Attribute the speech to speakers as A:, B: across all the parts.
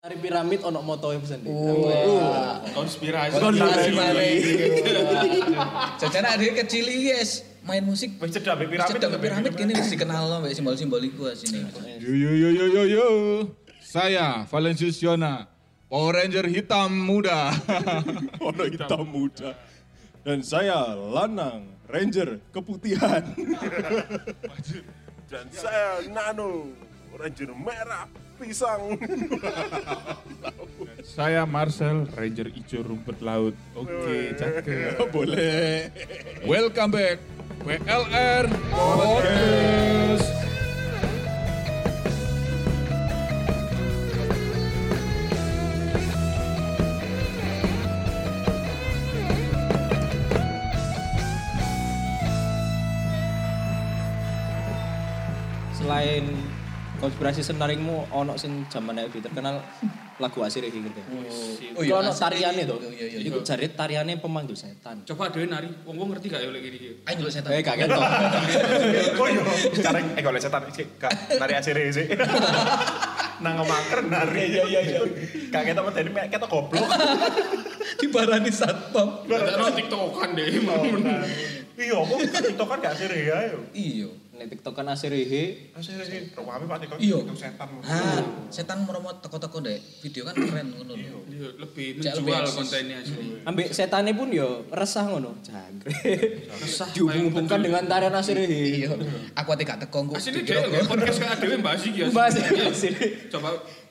A: Hari piramid ono motoe pesen di.
B: Konspirasi.
A: Konspirasi
C: balik. Jajana adik kecil yes main musik
B: Wis cedak ambek piramid.
C: piramid piramid kini wis dikenal loh mbak simbol-simbol iku asine.
D: Yo yo yo yo yo yo. Saya Valencius Yona, Power Ranger hitam muda.
E: Ono hitam muda. Dan saya Lanang Ranger keputihan.
F: Dan saya Nano, Ranger Merah Pisang.
B: Saya Marcel, Ranger Ijo Rumput Laut. Oke, cakep.
E: Boleh.
D: Welcome back PLR Podcast.
A: Selain konspirasi senaringmu ono sing zaman iki terkenal lagu asir iki gitu. Oh
C: Oh
A: iya.
C: iya,
A: Ono
C: asik
A: tariane
C: iki.
A: to.
C: Iya, iya,
A: Iku jare tariane pemandu setan.
G: Coba dhewe nari, wong wong ngerti gak ya oleh gini
C: Ayo nyeluk setan.
A: Eh kaget to.
B: Oh iya.
H: Sekarang eh kalau setan sih kak nari asire sih. Nang maker nari. Iya iya iya. Kak kita mah tadi kita goblok.
C: Dibarani satpam.
G: Gak tau tiktokan deh, mau bener.
H: Iya, kok TikTok kan gak asire ya.
C: Iya.
A: Nek TikTok kan asir iki.
H: Asire sih. Rumahnya Pak TikTok
C: Iya.
H: TikTok setan.
C: Ah, setan meromo teko-teko deh. Video kan keren ngono lho.
G: Iya, lebih
C: Cak, lebih
G: menjual
C: eksis.
G: kontennya asli.
A: Ambek setane pun yo resah ngono. Jangkrik.
G: Resah
A: Dihubungkan dengan tarian asir iki.
C: Iya. Aku ati gak teko engko.
G: Asli dhewe nggak podcast kayak dhewe mbahas iki asli.
A: Bahas asir.
G: ya. Coba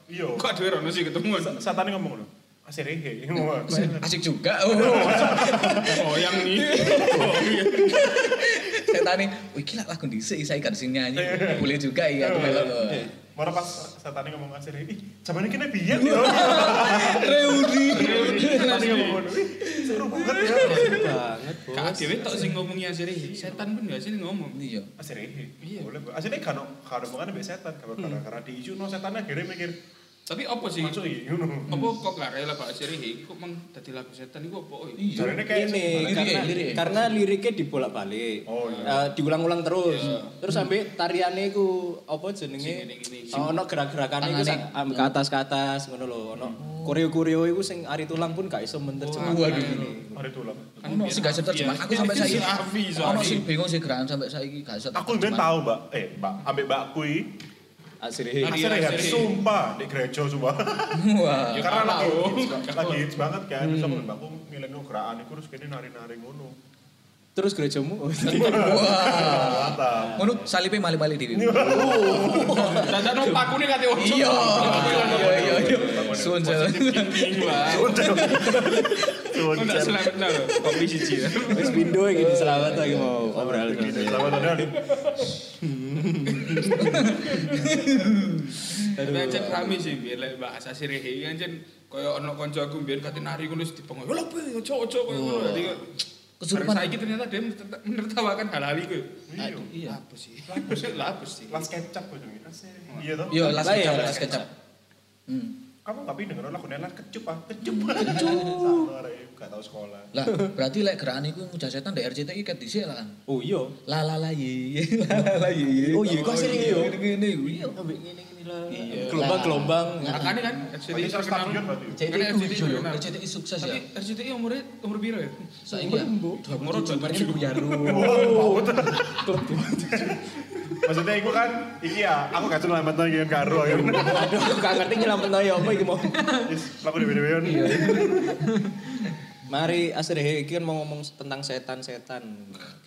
H: Iya.
G: kok dhewe rono sih ketemu.
H: Setan ngomong loh. Asire he.
C: Asik juga. Oh.
G: Oh, yang ini.
C: iya. Setan nih, wih gila lagu dhisik saya kan sing nyanyi. Boleh juga iya aku melok. lho.
H: Moro pas setan ngomong asire. Ih, zaman ini kena biyen ya.
C: Reuni.
H: Setan ngomong ngono. Ih, Seru banget ya.
A: Banget, Bos.
G: Kak dhewe tok sing ngomongnya asli. Setan pun gak sih ngomong.
C: Iya. Hmm.
H: Asire he. Boleh. Bu. Asire kan kan omongan ambek setan karena karena diisu no setannya akhirnya mikir.
G: Tapi apa sih?
H: Masuk iki ngono.
G: Apa kok gak rela Pak Asri iki kok mang dadi lagu setan iku apa? oh,
C: Iya.
H: Jarene
A: ini
H: kayak
C: Lirik
A: karena,
C: ya, lirik ya.
A: karena liriknya dibolak-balik.
H: Oh, iya.
A: Eh, diulang-ulang terus. Terus sampai tariannya ku apa jenenge?
G: Sing ini, ini.
A: Oh, ono gerak-gerakane iku sak- am- ke atas ke atas ngono lho. Ono koreo-koreo iku sing ari tulang pun gak iso menerjemahkan.
C: Waduh.
H: Mari tulang.
C: Ono sing gak sadar terjemah aku sampai saiki.
G: Afi,
C: Ono
G: sorry.
C: sing bingung sih geran sampai saiki gak iso
H: Aku ben tahu, Mbak. Eh, Mbak, ambek Mbak kui
A: Asli.
G: Tari
H: Asire he.
G: asire.
H: Sumpah di gereja sumpah.
C: Wah.
G: Ya,
H: karena lagi
G: tahu.
H: lagi hits banget kan terus aku mbakku milih gerakan iku terus kene nari-nari ngono
A: Terus gerejamu. oh,
C: Wah.
H: mantap
C: Ngono salipe mali-mali dhewe.
G: Dadak no pakune kate ojo.
C: Iya. Iya iya iya. Sun
G: Tinggi wae. Kok gak selamat lah. Kopi siji ya.
A: Wis pindo iki diselamat lagi mau obrolan.
H: selamat tinggal
G: Tapi ancen rame sih biar lek bahasa sirih iki ancen koyo ono kanca aku biar kate nari ngono wis dipengoyo. Lho be ojo ojo koyo ngono. Dadi kok,
C: Kesurupan.
G: bareng saiki ternyata dia menerta- menertawakan hal-hal iku. Iya. Apa sih? Apa sih? Lah apa sih?
H: las kecap gue jenenge Asire. iya toh
C: Yo las
A: Lah, iya,
C: kecap,
A: las
C: las kecap. Hmm.
H: kamu tapi denger lagu nelan kecup ah kecup kecup gak tau sekolah
C: Lah, berarti lek gerakan iku muja setan ndek RCTI ket dhisik lah kan.
A: Oh iya.
C: La la la ye, ye, la la la ye.
A: Oh iya, kok asli yo.
C: Ngene iku iya.
A: Ambek ngene-ngene lah.
C: Iya.
A: Gelombang-gelombang.
G: Makane kan RCTI
H: ini
G: terkenal.
H: terus stadion berarti
C: RCTI
H: ya?
G: Kan
C: ku
G: RCTI
C: ijo yo,
G: terkenal.
C: RCTI sukses ya.
G: Tapi eh, RCTI umurnya umur piro ya?
C: Saiki ya.
G: Umur
C: Umur
G: jaman
C: ini biaru.
H: maksudnya iku kan iki ya aku gak selamat lagi kan karo ya
A: Aduh, aku gak ngerti nyelametno ya apa iki mau.
H: Is, lagu di video
A: Mari Asri Hei, iki kan mau ngomong tentang setan-setan.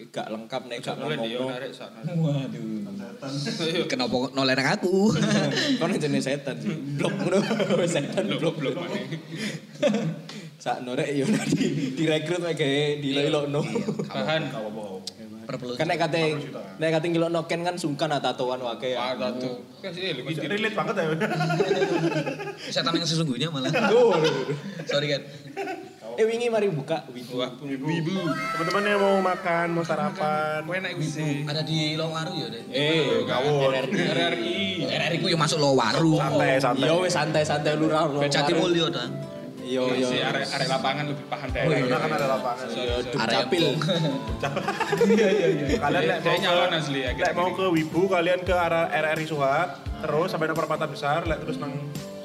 A: Iki Gak lengkap nek gak
G: Oleh dia
A: ngomong.
G: narik sana.
C: Waduh. Kenapa kok nolereng aku?
A: Kon jenis setan sih. Blok ngono. Setan blok.
G: Blok-blok maneh.
A: Sak norek yo di direkrut wae gawe dilelokno.
G: Tahan.
C: Perlu.
A: Kan nek kate nek kate ngelokno ken kan sungkan ah, tatoan wae ya.
G: Ada tuh. Kasih lu gitu.
H: relate banget ya
C: Setan yang sesungguhnya malah.
A: Duh.
C: Sorry kan.
A: Eh wingi mari buka wibu.
G: Wah, wibu.
H: teman-teman yang mau makan mau sarapan
G: Kowe enak wibu.
C: Ada di Lowaru ya, Dek.
A: Eh,
H: Gawon.
G: RRI.
C: RRI ku yo masuk Lowaru.
H: santai santai
A: Yo wes Iya, santai-santai Iya, lu ra. lu-
C: Jatimulyo ta.
A: Yo yo.
G: Si arek arek lapangan lebih paham
H: Nah,
G: daerah.
H: kan ada lapangan
A: Yo Duk
C: Area
A: capil.
H: kalian lek
G: Saya
H: mau
G: nyalon asli ya.
H: Lek mau ke Wibu kalian ke arah RRI Suhat, terus sampai nang perempatan besar, lek terus nang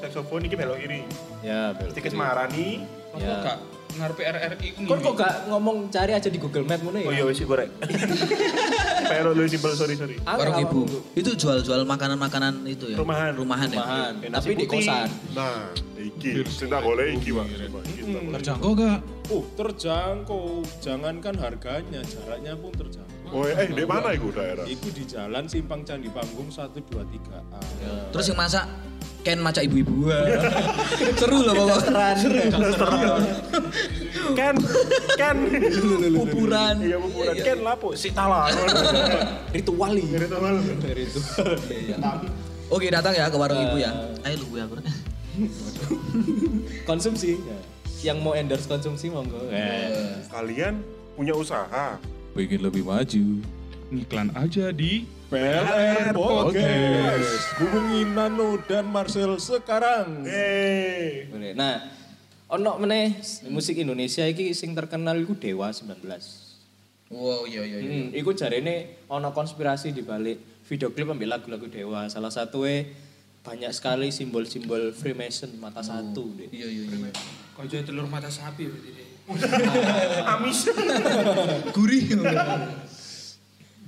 H: saksofon iki belok kiri.
A: Ya, belok
H: Tikis
A: kiri.
H: marani.
G: Kok
A: Ya.
G: gak ngarepe RRI ku
A: Kon kok
G: ngene?
A: gak ngomong cari aja di Google Map ngono ya?
H: Oh iya wis goreng. Pero lu simpel sorry sorry.
A: Aku
C: Warung
A: awak
C: ibu.
A: nunggu.
C: Itu jual-jual makanan-makanan itu ya.
H: Rumahan.
C: Rumahan ya.
A: Rumahan,
H: Kayak nasi
A: tapi di
H: putih.
A: kosan.
F: Nah, iki sing tak golek iki, Pak. Coba, iki tak golek.
D: Terjangkau gak?
E: Oh, terjangkau. Jangankan harganya, jaraknya pun terjangkau.
F: Oh, eh di mana iku daerah?
E: Itu di jalan Simpang Candi Panggung 123A.
C: Terus yang masak Ken maca ibu-ibu. Seru loh bawa
H: Ken Ken
C: Kuburan.
H: Iya kuburan. Ken lapo si tala.
A: Rituali.
C: Oke datang ya ke warung ibu ya. Ayo lu gue aku.
A: Konsumsi. Yang mau endorse konsumsi monggo.
F: Kalian punya usaha?
D: Pengen lebih maju.
B: Iklan aja di
E: PLR Podcast. Hubungi Nano dan Marcel sekarang.
A: Boleh. Nah, ono meneh musik Indonesia iki sing terkenal iku Dewa 19.
C: Wow iya iya. iya.
A: Hmm, iku jarene ono konspirasi di balik video klip ambil lagu-lagu Dewa. Salah satunya banyak sekali simbol-simbol Freemason mata satu deh.
C: Iya iya. iya.
G: Konco telur mata sapi berarti deh.
H: Amis.
C: Gurih.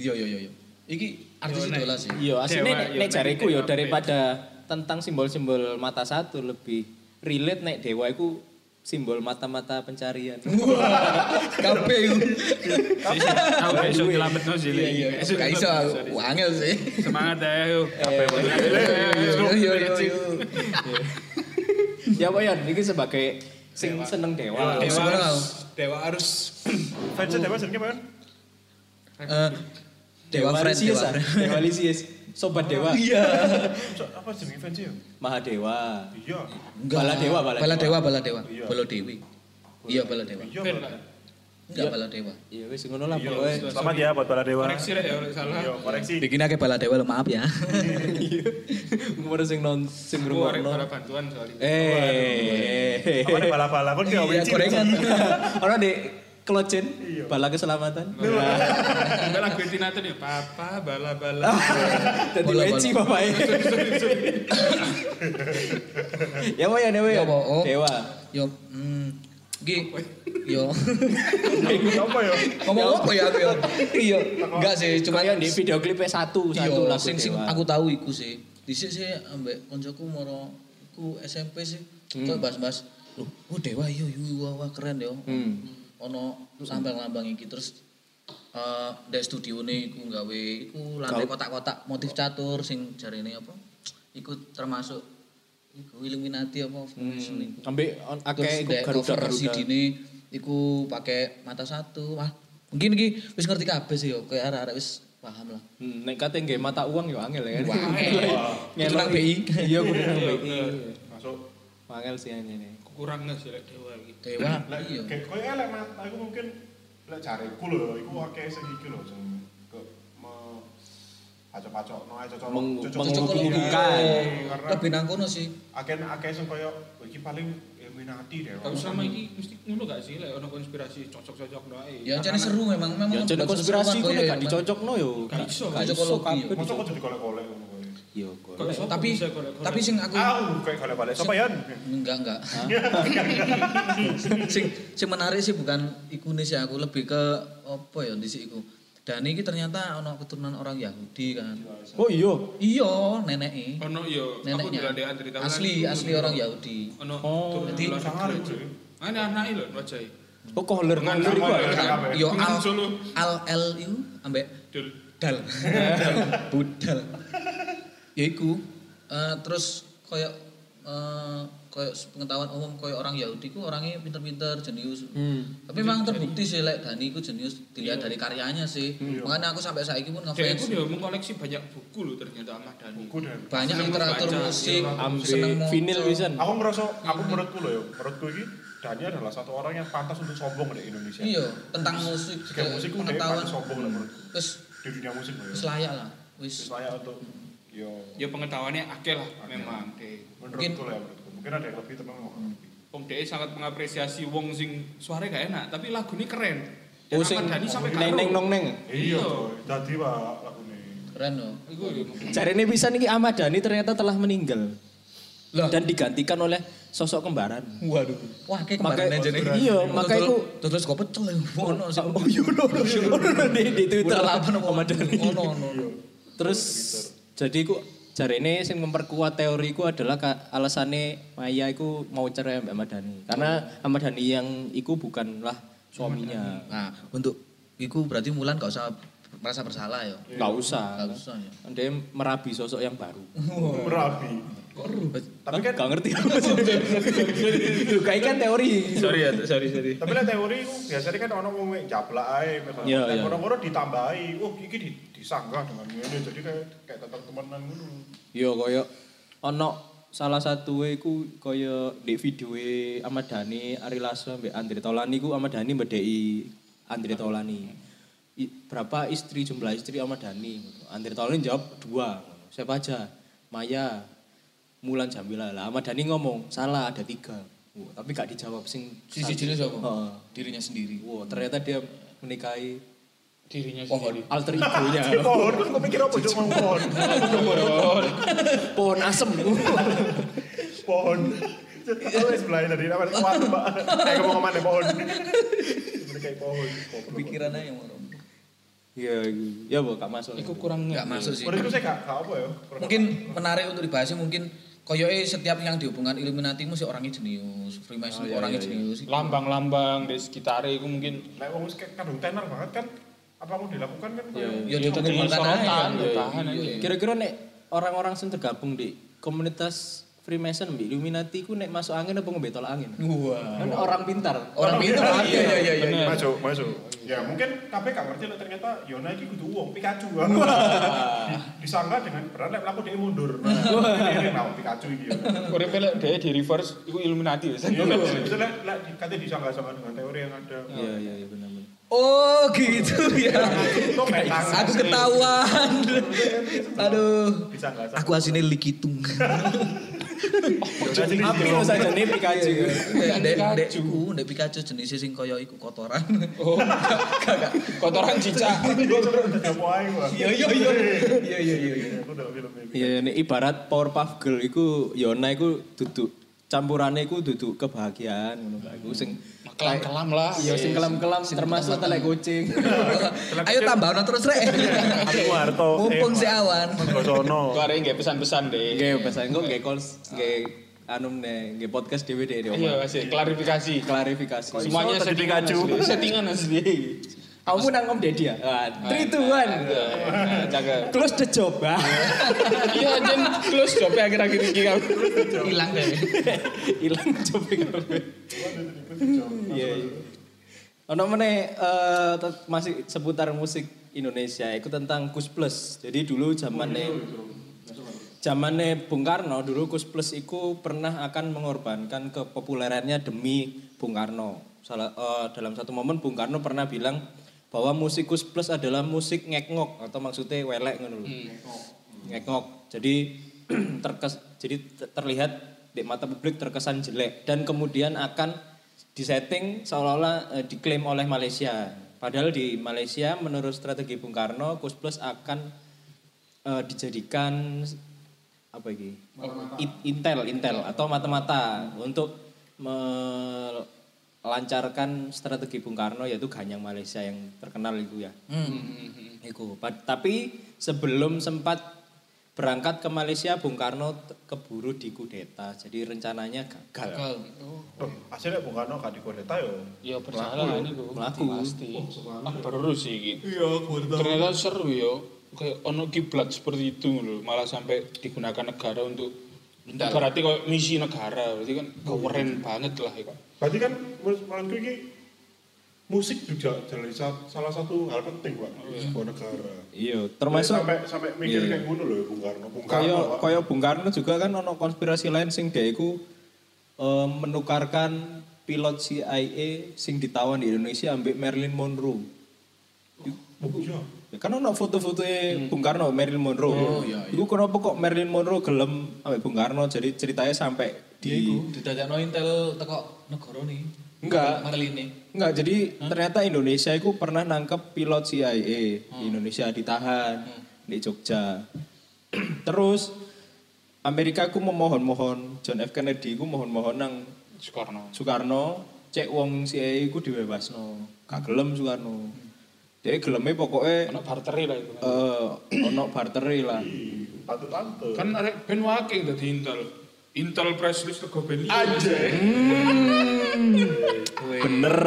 C: Iya iya iya. iya. Iki artis
G: Yo, Nek.
C: idola sih.
A: Iya, aslinya
G: Dewa,
A: nek,
G: iya,
A: nek
G: nek
A: jariku
G: Dewa
A: ya
G: apa ya?
A: daripada tentang simbol-simbol mata satu lebih relate nek Dewa iku simbol mata-mata pencarian.
C: Kabeh iku.
G: Aku gak iso nyelametno
C: Iya
G: sih. Li.
C: iya.
G: Gak iso
C: Gak iso
G: nyelametno,
C: aku.
G: sorry.
C: Wah, Angel sih.
G: Semangat ya, yuk.
C: Yo yo yo. yo.
A: ya apa ya, ini sebagai sing seneng Dewa.
G: Dewa
C: Semangat.
G: harus, Dewa harus.
H: Fans dewa jenenge apa?
C: Eh, Dewa Friend,
A: Lisius,
C: Dewa
A: ah.
C: Friend. Oh, iya,
A: Dewa Lisius. Sobat Dewa.
H: So- Apa jenenge fans ya?
A: Mahadewa.
H: Iya.
C: Enggak.
A: Bala Dewa, Bala Dewa.
C: Bala Dewa, Bala Dewa. Bala Dewi. Iya, Bala Dewa.
H: Iya.
G: Ben,
H: Pak.
G: Pak.
C: Enggak Bala Dewa.
A: Ya wis ngono lah pokoknya.
H: Selamat ya buat para dewa.
G: Koreksi lah ya, kalau salah.
H: Yo koreksi.
C: Bikin aja Bala Dewa, lo maaf ya.
A: Ngomong Iya. sing non sing
G: Aku orang para
A: ngrungokno.
G: bantuan soalnya.
A: Eh.
H: Apa nih bala-bala pun gak
C: Iya,
H: benci.
C: gorengan.
A: Orang di Klojen, bala keselamatan.
G: Enggak lagu Tina tuh ya, papa
C: Ah.
G: bala-bala.
A: Dadi
C: Bola,
A: weci
C: bola.
A: bapake. Ya apa ya Dewa ya?
C: Ya apa, oh.
A: Dewa.
C: Yo, hmm, Gi, yo,
H: Apa ya?
C: ngomong apa ya aku ya? Iya, enggak sih, cuma
A: Kayak di video klipnya satu, satu lagu
C: sing sing
A: Dewa.
C: aku tahu iku sih. Dhisik sih ambek koncoku moro iku SMP sih.
A: Hmm.
C: Kita bahas-bahas, loh, oh Dewa yo yo wah, wah keren yo.
A: Hmm.
C: Ono sampel lambang iki terus eh dari studio nih iku nggawe iku lantai kotak-kotak motif catur sing jarine apa? Iku termasuk iku Illuminati apa Freemason iku.
A: Ambek on- Hmm. akeh
C: Terus
A: iku
C: dek
A: Garuda
C: cover
A: Garuda.
C: CD-ne iku pakai mata satu. Wah, mungkin iki wis ngerti kabeh sih yo, kayak arek-arek wis paham lah.
A: Hmm, nek kate nggih mata uang ya angel ya kan.
C: Kudu nang
A: BI.
C: BI.
A: Iya kudu nang BI.
H: Masuk.
A: Angel sih ini.
G: Kurang nggak sih Lek, Dewa gitu? ini.
C: Dewa,
H: Lek,
C: iya.
H: kayak koyo elek mat, aku mungkin lek jariku lho, iku akeh sing iki lho sing ke me pacok-pacok no aja cocok.
A: Meng-
H: cocok-
A: meng-
H: cocok-
A: menghubungkan.
H: Iya, karena
C: Lebih nang kono sih.
H: akeh akeh sing koyo "Oh, iki paling Illuminati deh.
G: Tapi selama ini mesti ngono gak sih, lek ono konspirasi cocok-cocok Eh, doae.
C: Ya jadi seru memang memang.
A: Ya jadi
C: buat
A: konspirasi
C: seru-seruan
A: kok
C: koyo
A: gak
C: ya,
A: dicocokno yo.
G: Gak iso,
A: Gak
C: iso
A: iso
C: kalau
A: kabeh.
H: Mosok kudu digolek-golek ngono kowe.
A: Iya
G: Kok
A: kok.
G: iso?
C: Tapi
G: Bisa golek-golek.
C: tapi sing aku
H: Au, koyo golek-golek. ya? Sopo yon?
C: enggak enggak. sing sing menarik sih bukan ikune sih aku lebih ke apa ya dhisik iku. Dan iki ternyata ono keturunan orang Yahudi kan.
A: Oh iya.
C: Iya, neneknya.
G: Ono yo, Oh, aku
C: Neneknya.
G: diladekan cerita
C: Asli asli orang Yahudi.
G: Ono
A: Oh,
G: turun
C: jadi
G: luar negeri aja. Ini anaknya lho, wajahnya.
A: Oh kohler
G: Dengan
A: kohler iku.
G: nama ya.
C: Yo al
G: Menang Solo.
C: al el iku ambek
G: Dul.
C: dal. Budal. Ya iku. Eh, terus koyo eh koyo pengetahuan umum koyo orang Yahudi ku orangnya pinter-pinter, jenius.
A: Hmm.
C: Tapi memang terbukti sih lek Dani ku jenius
G: Iya.
C: dilihat dari karyanya sih.
A: Iya.
C: Makanya aku sampai saat ini pun
G: Dia
C: ngefans.
G: itu dia mengkoleksi banyak buku loh ternyata Ahmad Dhani.
H: Buku dan
C: Banyak
G: Seneng
C: literatur
G: baca, iya.
C: musik, seneng
A: Ambek
C: maca.
A: vinil wisan.
H: aku merasa
C: Iya.
H: aku menurutku loh ya, menurutku ini Dani adalah satu orang yang pantas untuk sombong di Indonesia.
C: Iya, tentang musik,
H: Sekian
C: eh,
H: musik udah
C: pengetahuan. Hmm.
H: pantas sombong lah menurutku.
C: Terus
H: Di dunia musik loh ya.
C: wis layak lah.
H: Terus
C: Wis
H: layak untuk yo
G: Ya pengetahuannya akeh lah memang. Dek.
H: menurutku lah ya menurutku. Mungkin ada yang lebih tapi memang nggak lebih.
G: Wong Dek sangat mengapresiasi wong sing suaranya gak enak tapi lagunya keren.
A: Oh
G: Dan Ahmad
A: sing
G: Dhani sampai
A: neng neng nong neng.
G: Iya.
H: coy. Jadi pak lagu ini.
C: keren loh.
G: Iku yo.
A: Jarene pisan iki Ahmad Dhani ternyata telah meninggal.
C: Lah.
A: dan digantikan oleh sosok kembaran.
C: Waduh. Wah, kayak kemarin
A: Makanya-
C: aja nih.
A: Iya, makanya aku-
C: terus kok pecel ya. Ono sih.
A: Oh iya, no, no, no, no, di, di Twitter.
C: Udah lapan apa? Oh,
A: Komandan ini.
C: Ono, ono, ono.
A: Terus jadi ku jari ini yang memperkuat teoriku adalah ka- alasannya Maya iku mau cerai Mbak Madani. Karena Ahmad Dhani yang iku bukanlah suaminya.
C: Nah, untuk iku berarti Mulan gak usah merasa bersalah ya.
A: Nggak usah.
C: Nggak usah, ya.
A: Dia merabi sosok yang baru. Oh.
H: Merabi.
C: Kok ribet?
A: Tapi kan nggak ngerti. Lu kayak kan teori.
G: Sorry ya, sorry sorry.
H: Tapi lah teori itu biasanya kan orang ngomong jablak ae,
A: Iya, iya.
H: orang-orang ditambahi, oh iki di, disanggah dengan ini, jadi kayak kayak tetap temenan gitu.
A: Iya koyo ono salah satu iku koyo di video Ahmad Dhani, Ari Lasso mbek Andre Taulani ku Ahmad Dhani mbedeki Andre Taulani. I- berapa istri jumlah istri Ahmad Dhani? Andre Taulani jawab dua. Siapa aja? Maya, Mulan Jamila lah. Ahmad Dhani ngomong salah ada tiga. Wah, tapi gak dijawab sing
C: Sisi jenis siapa?
A: Heeh.
C: Dirinya sendiri.
A: Wah, ternyata dia menikahi
G: Dirinya
C: Oh,
G: sendiri.
A: alter egonya.
H: Mohon, kok mikir apa cuk mohon.
A: Pohon asem.
H: Pohon. Aku wis belain dari apa kuat, Mbak. Kayak ngomong mana pohon. Kayak pohon.
C: Pikiran aja moro.
A: Iya, iya, Bu, gak masuk.
G: Iku kurang
C: Enggak masuk sih.
H: Menurutku saya gak gak apa ya. kurang-
C: ya. Mungkin menarik untuk dibahas mungkin koyoke setiap yang dihubungkan Illuminati mesti orangnya jenius, Freemason orangnya jenius.
G: lambang-lambang di sekitarnya itu mungkin
H: Lah wong wis kayak kadung tenar banget kan. Apa mau dilakukan kan?
C: Ya
G: Ya, jadi
C: dihubungkan aja.
G: sorotan, ya, tahan
C: Iya,
G: aja.
C: iya.
A: Kira-kira nek orang-orang sing tergabung di komunitas Freemason mbak Illuminati ku nek masuk angin apa ngombe tolak angin?
C: Wah.
A: Kan orang pintar.
C: Orang pintar. Iya iya iya. iya.
F: Masuk, masuk.
H: Ya mungkin kabeh gak ngerti loh ternyata Yona iki kudu wong Pikachu. Di- Disangka dengan beran lek mlaku dhewe mundur. Nah, ini mau Pikachu iki. ya.
G: Urip lek dhek di reverse iku Illuminati wis.
H: Iya, maksudnya lah katanya disangka sama dengan teori yang ada.
A: Iya iya iya benar benar.
C: Oh gitu ya.
H: Kok kayak tangan
C: Aku
H: sih?
C: ketahuan. Aduh.
H: Disangka sama.
C: Aku aslinya likitung.
A: Tapi lu saja nih Pikachu.
C: Dek dek iku, dek Pikachu jenisnya sing koyo iku kotoran.
G: Oh, gak, gak. kotoran cicak.
H: Gue sebenernya udah gak mau aja gua.
C: Iya iya iya. Iya iya iya.
H: Aku udah film ini.
A: Iya nek ibarat Powerpuff Girl iku Yona iku duduk campurannya iku duduk kebahagiaan ngono Mbak. Iku sing
G: Kelam-kelam lah.
A: Iya sing kelam-kelam Iya, termasuk telek kucing.
C: Ayo tambah no terus rek.
F: Aku Harto.
C: Mumpung si awan.
F: Gosono.
G: Gue arek nggak pesan-pesan deh.
A: Nggih pesan kok nggih calls nggih anu nih nggih podcast dhewe deh di
G: Iya,
A: omah.
G: masih klarifikasi.
A: Klarifikasi.
G: Semuanya
F: tadi
G: settingan
F: Pikachu?
G: asli. Settingan iya. asli.
A: Kamu nang om Deddy ya? Wah, Three to one.
G: Iya, nah, Cakep.
A: Close the job. ah.
G: Iya, Jen close job akhir-akhir ini kamu.
C: Hilang deh.
A: Hilang job kabeh. Iya. iya. Ono meneh eh, te- masih seputar musik Indonesia itu tentang Kus Plus. Jadi dulu zamane zamane Bung Karno dulu Kus Plus itu pernah akan mengorbankan kepopulerannya demi Bung Karno. Salah, eh, dalam satu momen Bung Karno pernah bilang bahwa musik Kus Plus adalah musik ngek-ngok atau maksudnya welek ngono lho. Ngek-ngok. Jadi terkes jadi te- terlihat di mata publik terkesan jelek dan kemudian akan disetting seolah-olah eh, diklaim oleh Malaysia. Padahal di Malaysia menurut strategi Bung Karno Kus Plus akan eh, dijadikan apa ini? It- Intel, Intel atau mata-mata untuk melancarkan strategi Bung Karno yaitu ganyang Malaysia yang terkenal itu ya. Iku. Pad- Tapi sebelum sempat berangkat ke Malaysia Bung Karno t- keburu dikudeta. Jadi rencananya gagal.
H: Loh, Hasilnya bukan no gak ya? dikodeta yo.
G: Iya, bersalah ini gue.
A: Melaku.
G: Pasti. Ah, baru sih ini. Iya, Ternyata seru ya. Kayak ono kiblat seperti itu loh. Malah sampai digunakan negara untuk berarti kayak misi negara. Berarti kan keren banget lah ya.
H: Berarti kan menurut menurutku ini musik juga jadi sa- salah satu hal penting pak sebuah negara.
A: Iya, termasuk
H: Termasuk sampai sampai mikir kayak ngono loh ya Bung Karno. Bung Karno.
A: Kaya
H: Pak.
A: kaya Bung Karno juga kan ono konspirasi lain sing dia iku eh, menukarkan pilot CIA sing ditawan di Indonesia ambek Marilyn Monroe.
H: Oh, iya.
A: Ya kan ono foto-foto Bung Karno Marilyn Monroe. Iku kenapa kok Marilyn Monroe gelem ambek Bung Karno jadi ceritanya sampai
C: Iya,
A: di
C: Didadakno Intel teko negara nih.
A: Enggak.
C: Marlene.
A: Enggak, jadi ternyata Indonesia itu pernah nangkep pilot
C: Hmm.
A: CIA di Indonesia ditahan di Jogja. Terus Amerika ku memohon-mohon, John F Kennedy ku mohon-mohon nang
G: Soekarno.
A: Soekarno cek wong CIA ku dibebasno. Gak gelem
C: Hmm.
A: Soekarno. Dia geleme pokoknya
G: Ono barteri lah itu. kan.
A: eh ono barteri lah.
C: Hmm.
H: Tante-tante.
G: Kan arek ben waking dadi Intel. Intel press list teko ben liya.
A: Bener.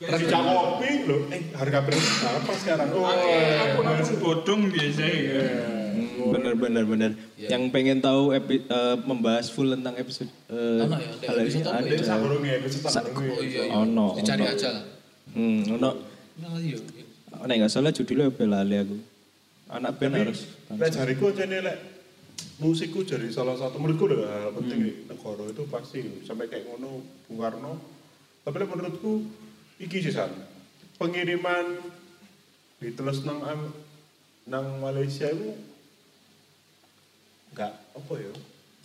H: Bisa kopi lho. Eh, harga berapa berapa sekarang? Oh,
G: Aku nak bodong biasanya.
A: Bener bener bener.
C: Iya.
A: Yang pengen tahu epi- eh, membahas full tentang episode eh,
C: Ono ya,
A: hal ini
C: episode apa
A: ada.
H: ini saburunge, bisa
C: Oh
H: saburunge.
C: iya, iya.
A: Ono,
C: Dicari
A: ono.
C: aja lah.
A: Hmm, ono.
C: Nah, iya. iya.
A: Nek nggak salah judulnya Belale aku. Anak band harus.
H: Lek jariku jane lek musikku jadi salah satu menurutku udah hal
C: Hmm.
H: penting di negara itu pasti gitu. sampai kayak ngono Bung Karno. Tapi lek menurutku iki sih San. Pengiriman Beatles nang Am- nang Malaysia itu enggak apa ya?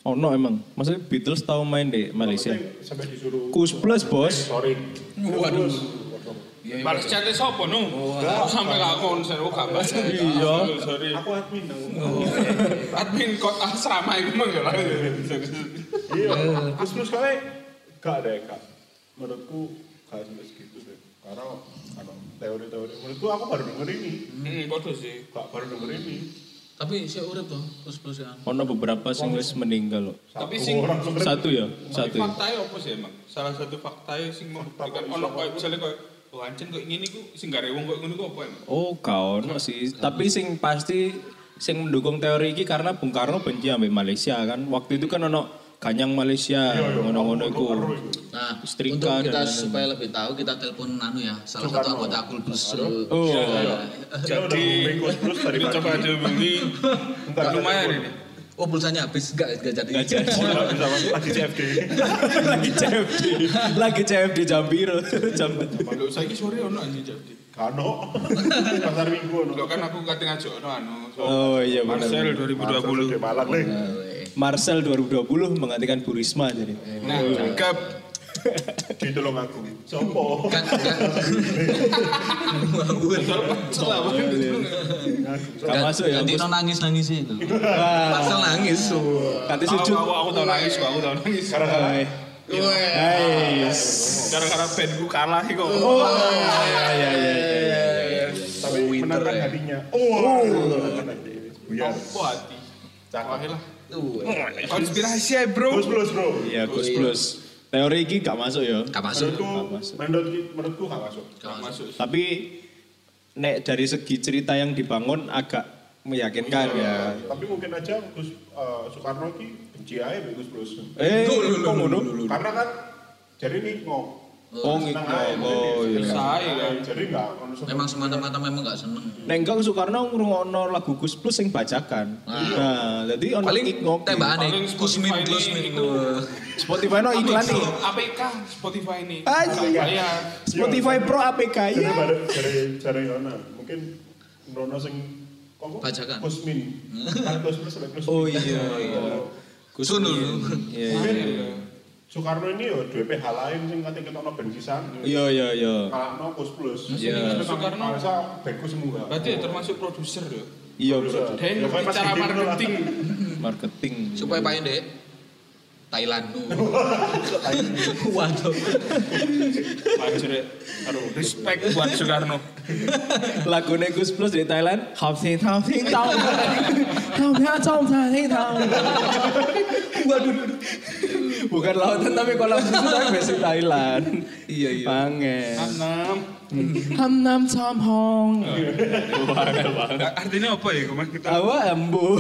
A: Ono emang. Maksudnya Beatles tahu main di Malaysia.
H: Maksudnya Sampai disuruh
A: Kus plus bos.
H: sorry.
C: Waduh. Iya, iya.
G: Malah cete sapa nung? Kok sampe gak konser kok gak baca.
A: Iya.
G: Sorry. Oh.
H: Aku admin nang.
G: Admin kot asrama iku mah ya.
H: Iya. Terus terus kali gak deh kak. Menurutku gak sampai segitu deh. Karena karena teori-teori menurutku aku baru denger ini.
G: Hmm, padha sih.
H: Gak baru denger ini.
C: Tapi saya urip tuh, terus plus ya.
A: Ono beberapa sing wis meninggal loh.
G: Tapi sing
H: orang denger
A: Satu ya,
G: Tapi
A: satu. ya.
G: faktanya apa sih emang? Salah satu faktanya sing membuktikan ono koyo misalnya koyo Oh anjen kok ngene ku sing gak rewong kok ngono ku apa emang?
A: Oh, gak ono sih. Tapi sing pasti sing mendukung teori iki karena Bung Karno benci ambek Malaysia kan. Waktu itu kan ono ganyang Malaysia ngono-ngono iku.
C: Nah,
A: Setrika
C: untuk kita
A: dan lain-lain.
C: supaya lebih tahu kita telepon Nanu ya, salah satu anggota Kulbus. eh,
A: Oh,
G: Jadi
H: terus tadi
G: Ini coba aja beli lumayan ini.
C: Oh, pulsanya habis enggak enggak jadi.
A: Nggak jadi.
H: nggak bisa masuk lagi CFD.
A: lagi CFD. Lagi CFD Jambiro. Jam
G: Lho saiki sore ono anjing jadi.
H: Kano. Pasar Minggu no.
G: Lho kan aku kate ngajak ono anu.
A: Oh iya
G: Marcel
A: benar.
G: 2020.
H: Di Malang nih.
A: Marcel 2020 menggantikan Bu Risma jadi.
G: Nah, cakep.
H: Gitu loh aku. Sopo.
C: Kan kan. Ngawur.
A: Gak masuk ya.
C: Ganti
A: Bos?
C: nangis nangis itu. Pasal nangis. oh.
A: Ganti
G: Aku,
A: sujud.
G: aku, aku tau nangis, kok, aku tau nangis. Iya.
A: Hai. Hai.
G: Gara-gara bandku kalah iki kok.
A: Oh,
G: Oh,
A: iya,
G: iya,
H: Tapi
A: ya.
H: menantang hatinya. Oh.
A: iya.
H: Buyar.
G: kan Apa hati?
H: Cakep.
G: Wah, lah.
C: Tuh,
G: Konspirasi ya, bro.
H: Plus plus bro.
A: Iya, Gus Plus. Teori ini gak masuk ya.
C: Gak masuk.
H: Menurutku menurutku menurutku gak masuk.
C: Gak masuk.
A: Tapi nek dari segi cerita yang dibangun agak meyakinkan ya.
H: Tapi mungkin aja Gus eh, Soekarno ki benci aja sama Gus Plus.
A: Eh, kok ngono?
H: Karena kan jadi nih ngok.
A: Oh, ngik- oh, iya.
G: Saya kan.
H: Jadi nggak konsumsi.
C: Memang semata-mata memang enggak seneng.
A: Nek enggak Soekarno ngrungokno lagu Gus Plus yang bajakan. Nah, jadi ono
C: Paling
A: ngik- ngok.
C: tembakan
G: Paling
C: kusmin
G: Spotify
C: kusmin.
G: ini itu.
A: Spotify no iklan nih.
G: APK Spotify ini.
A: Anjing.
G: Saya
A: Spotify Pro APK
H: Jadi
A: ya.
H: pada cari cari Rona, mungkin Rona sing apa?
C: Bajakan.
H: Kusmin. Kan Kusmin sampai Kusmin.
A: Oh iya iya.
C: Gus dulu.
A: Iya, iya.
H: Mungkin Soekarno ini ya dua PH lain sing kate ketokno ben sisan.
A: Iya iya iya.
H: Kalakno Kus Plus.
A: Iya.
H: Soekarno
G: Soekarno.
H: masa beku semua.
G: berarti ya termasuk produser ya.
A: Iya gitu betul.
G: Dan
H: Ya, kayak Mas
G: cara
H: Didi dulu lah.
G: marketing.
A: Marketing.
C: Supaya Pak Ende Thailand tuh. Waduh.
G: Wajar ya. Aduh, respect buat Soekarno.
A: Lagunya Gus Plus di Thailand. Hafting hafting tau. Hafting tau hafting tau. Waduh. Bukan lautan tapi kolam susu tapi basic Thailand. Iya iya. Pangen.
G: Enam.
A: Ham nam sam hong.
G: Artinya apa ya, Mas? Kita
A: Awa embu.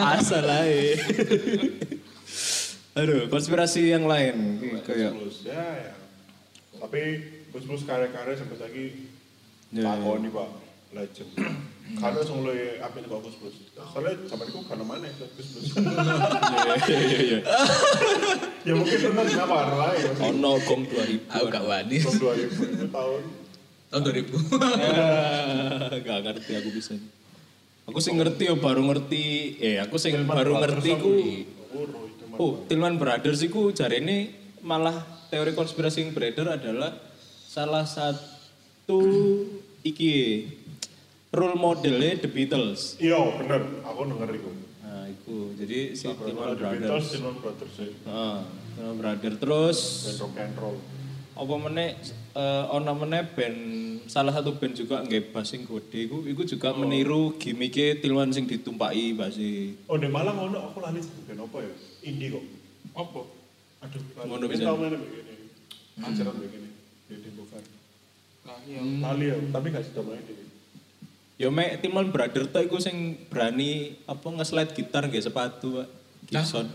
A: Asal ae. Aduh, konspirasi yang lain. Kayak
H: Kus Plus. Ya ya. Tapi Kus Plus karya-karya sampai lagi
A: Ya,
H: takoni Pak. Legend. Karena sing luwe apik kok Kus Plus. Soalnya sampe iku kan mana ya, Kus Plus.
A: iya iya.
H: Ya mungkin Rona kenapa orang lain.
A: Ono gong 2000.
C: Aku gak wani.
H: Tahun 2000 tahun.
C: Tahun 2000.
A: Gak ngerti aku bisa. Aku sing ngerti ya baru ngerti. Eh aku sing baru ngerti ku. Oh, Tilman Brothers iku jarene malah teori konspirasi yang beredar adalah salah satu iki role modelnya The Beatles.
H: Iya, bener. Aku denger iku.
A: Nah, iku. Jadi si Timon
F: Ada Beatles,
A: Brothers.
F: Timon Brothers ya.
A: Heeh, Timon Brothers terus
F: Dan rock and roll.
A: apa meneh eh, ono meneh band salah satu band juga nggih bass sing gede iku iku juga meniru gimmick Tilman sing ditumpaki e. basi.
F: Oh, di Malang ono aku lali bukan apa ya? Indie kok.
E: Apa?
F: Aduh,
A: Ngono
F: ini
A: bisa.
F: tau mana begini.
A: Hmm.
F: Ajaran begini. Di Timbukan.
G: Lali ya.
F: Lali ya, tapi gak sudah main di
A: Ya mek Timon Brothers tuh iku sing berani apa nge-slide gitar nggih sepatu, Pak. Gibson.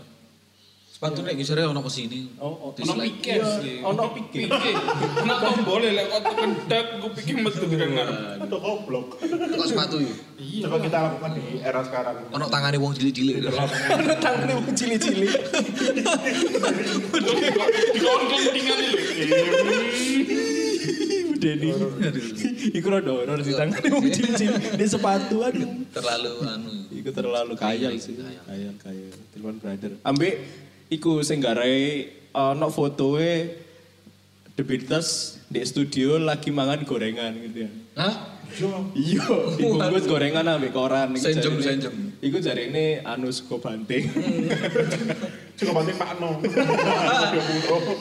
C: Sepatu nek ngisore ono kesini.
A: Oh, oh,
G: Ono pikir sih.
A: ono pikir.
G: Pikir. Ono tombol lek kok tekan dak gue pikir metu kan
F: Itu goblok.
C: Kok sepatu iki?
F: Coba kita lakukan di era sekarang.
C: Ono tangane wong cilik-cilik.
A: Ono tangane wong cili-cili.
G: Dikongkong tinggal lho.
A: Denny. Iku rada horor sih tangane wong cili-cili. Di sepatu aduh.
C: Terlalu anu.
A: Iku terlalu kaya sih. Kaya kaya. Tilman Brother. Ambek iku sing garai ono fotoe The Beatles di studio lagi mangan gorengan gitu ya.
C: Hah?
A: Iya, dibungkus gorengan ambek koran. Iku
C: Senjem,
A: jarine-
C: senjem.
A: Iku jarine anu suka banting.
F: Coba banting Pak No.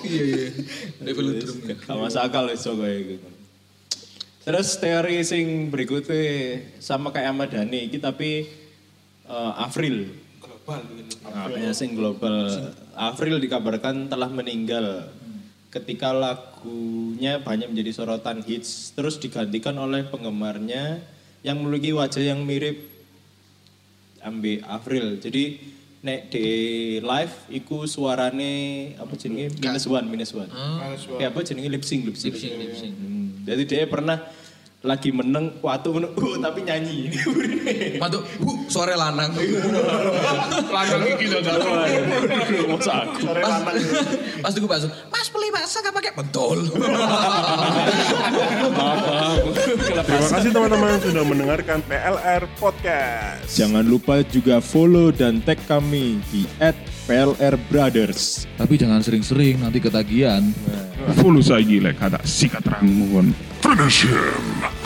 C: Iya iya. Nek velodrome.
A: iya. Gak masuk akal iso kaya gitu. Terus teori sing berikutnya sama kayak Ahmad Dhani iki tapi eh, Afril. Global gitu. sing global. Afril dikabarkan telah meninggal ketika lagunya banyak menjadi sorotan hits terus digantikan oleh penggemarnya yang memiliki wajah yang mirip ambil Afril. Jadi nek di live iku suarane apa jenenge minus one minus one. Ya apa jenenge lip sync lip sync.
C: Lip sync, lip sync.
A: Hmm. Jadi dia pernah lagi meneng waktu meneng uh, tapi nyanyi.
C: Mantuk, bu, suara lanang.
G: Lanang iki lho jalan.
A: Masa aku.
C: Pas, pas tuku bakso, mas beli bakso gak pakai pentol.
F: Terima kasih teman-teman sudah mendengarkan PLR Podcast.
B: Jangan lupa juga follow dan tag kami di @plrbrothers.
I: Tapi jangan sering-sering nanti ketagihan.
B: Follow saja lek kata sikat rangun.
J: Finish him!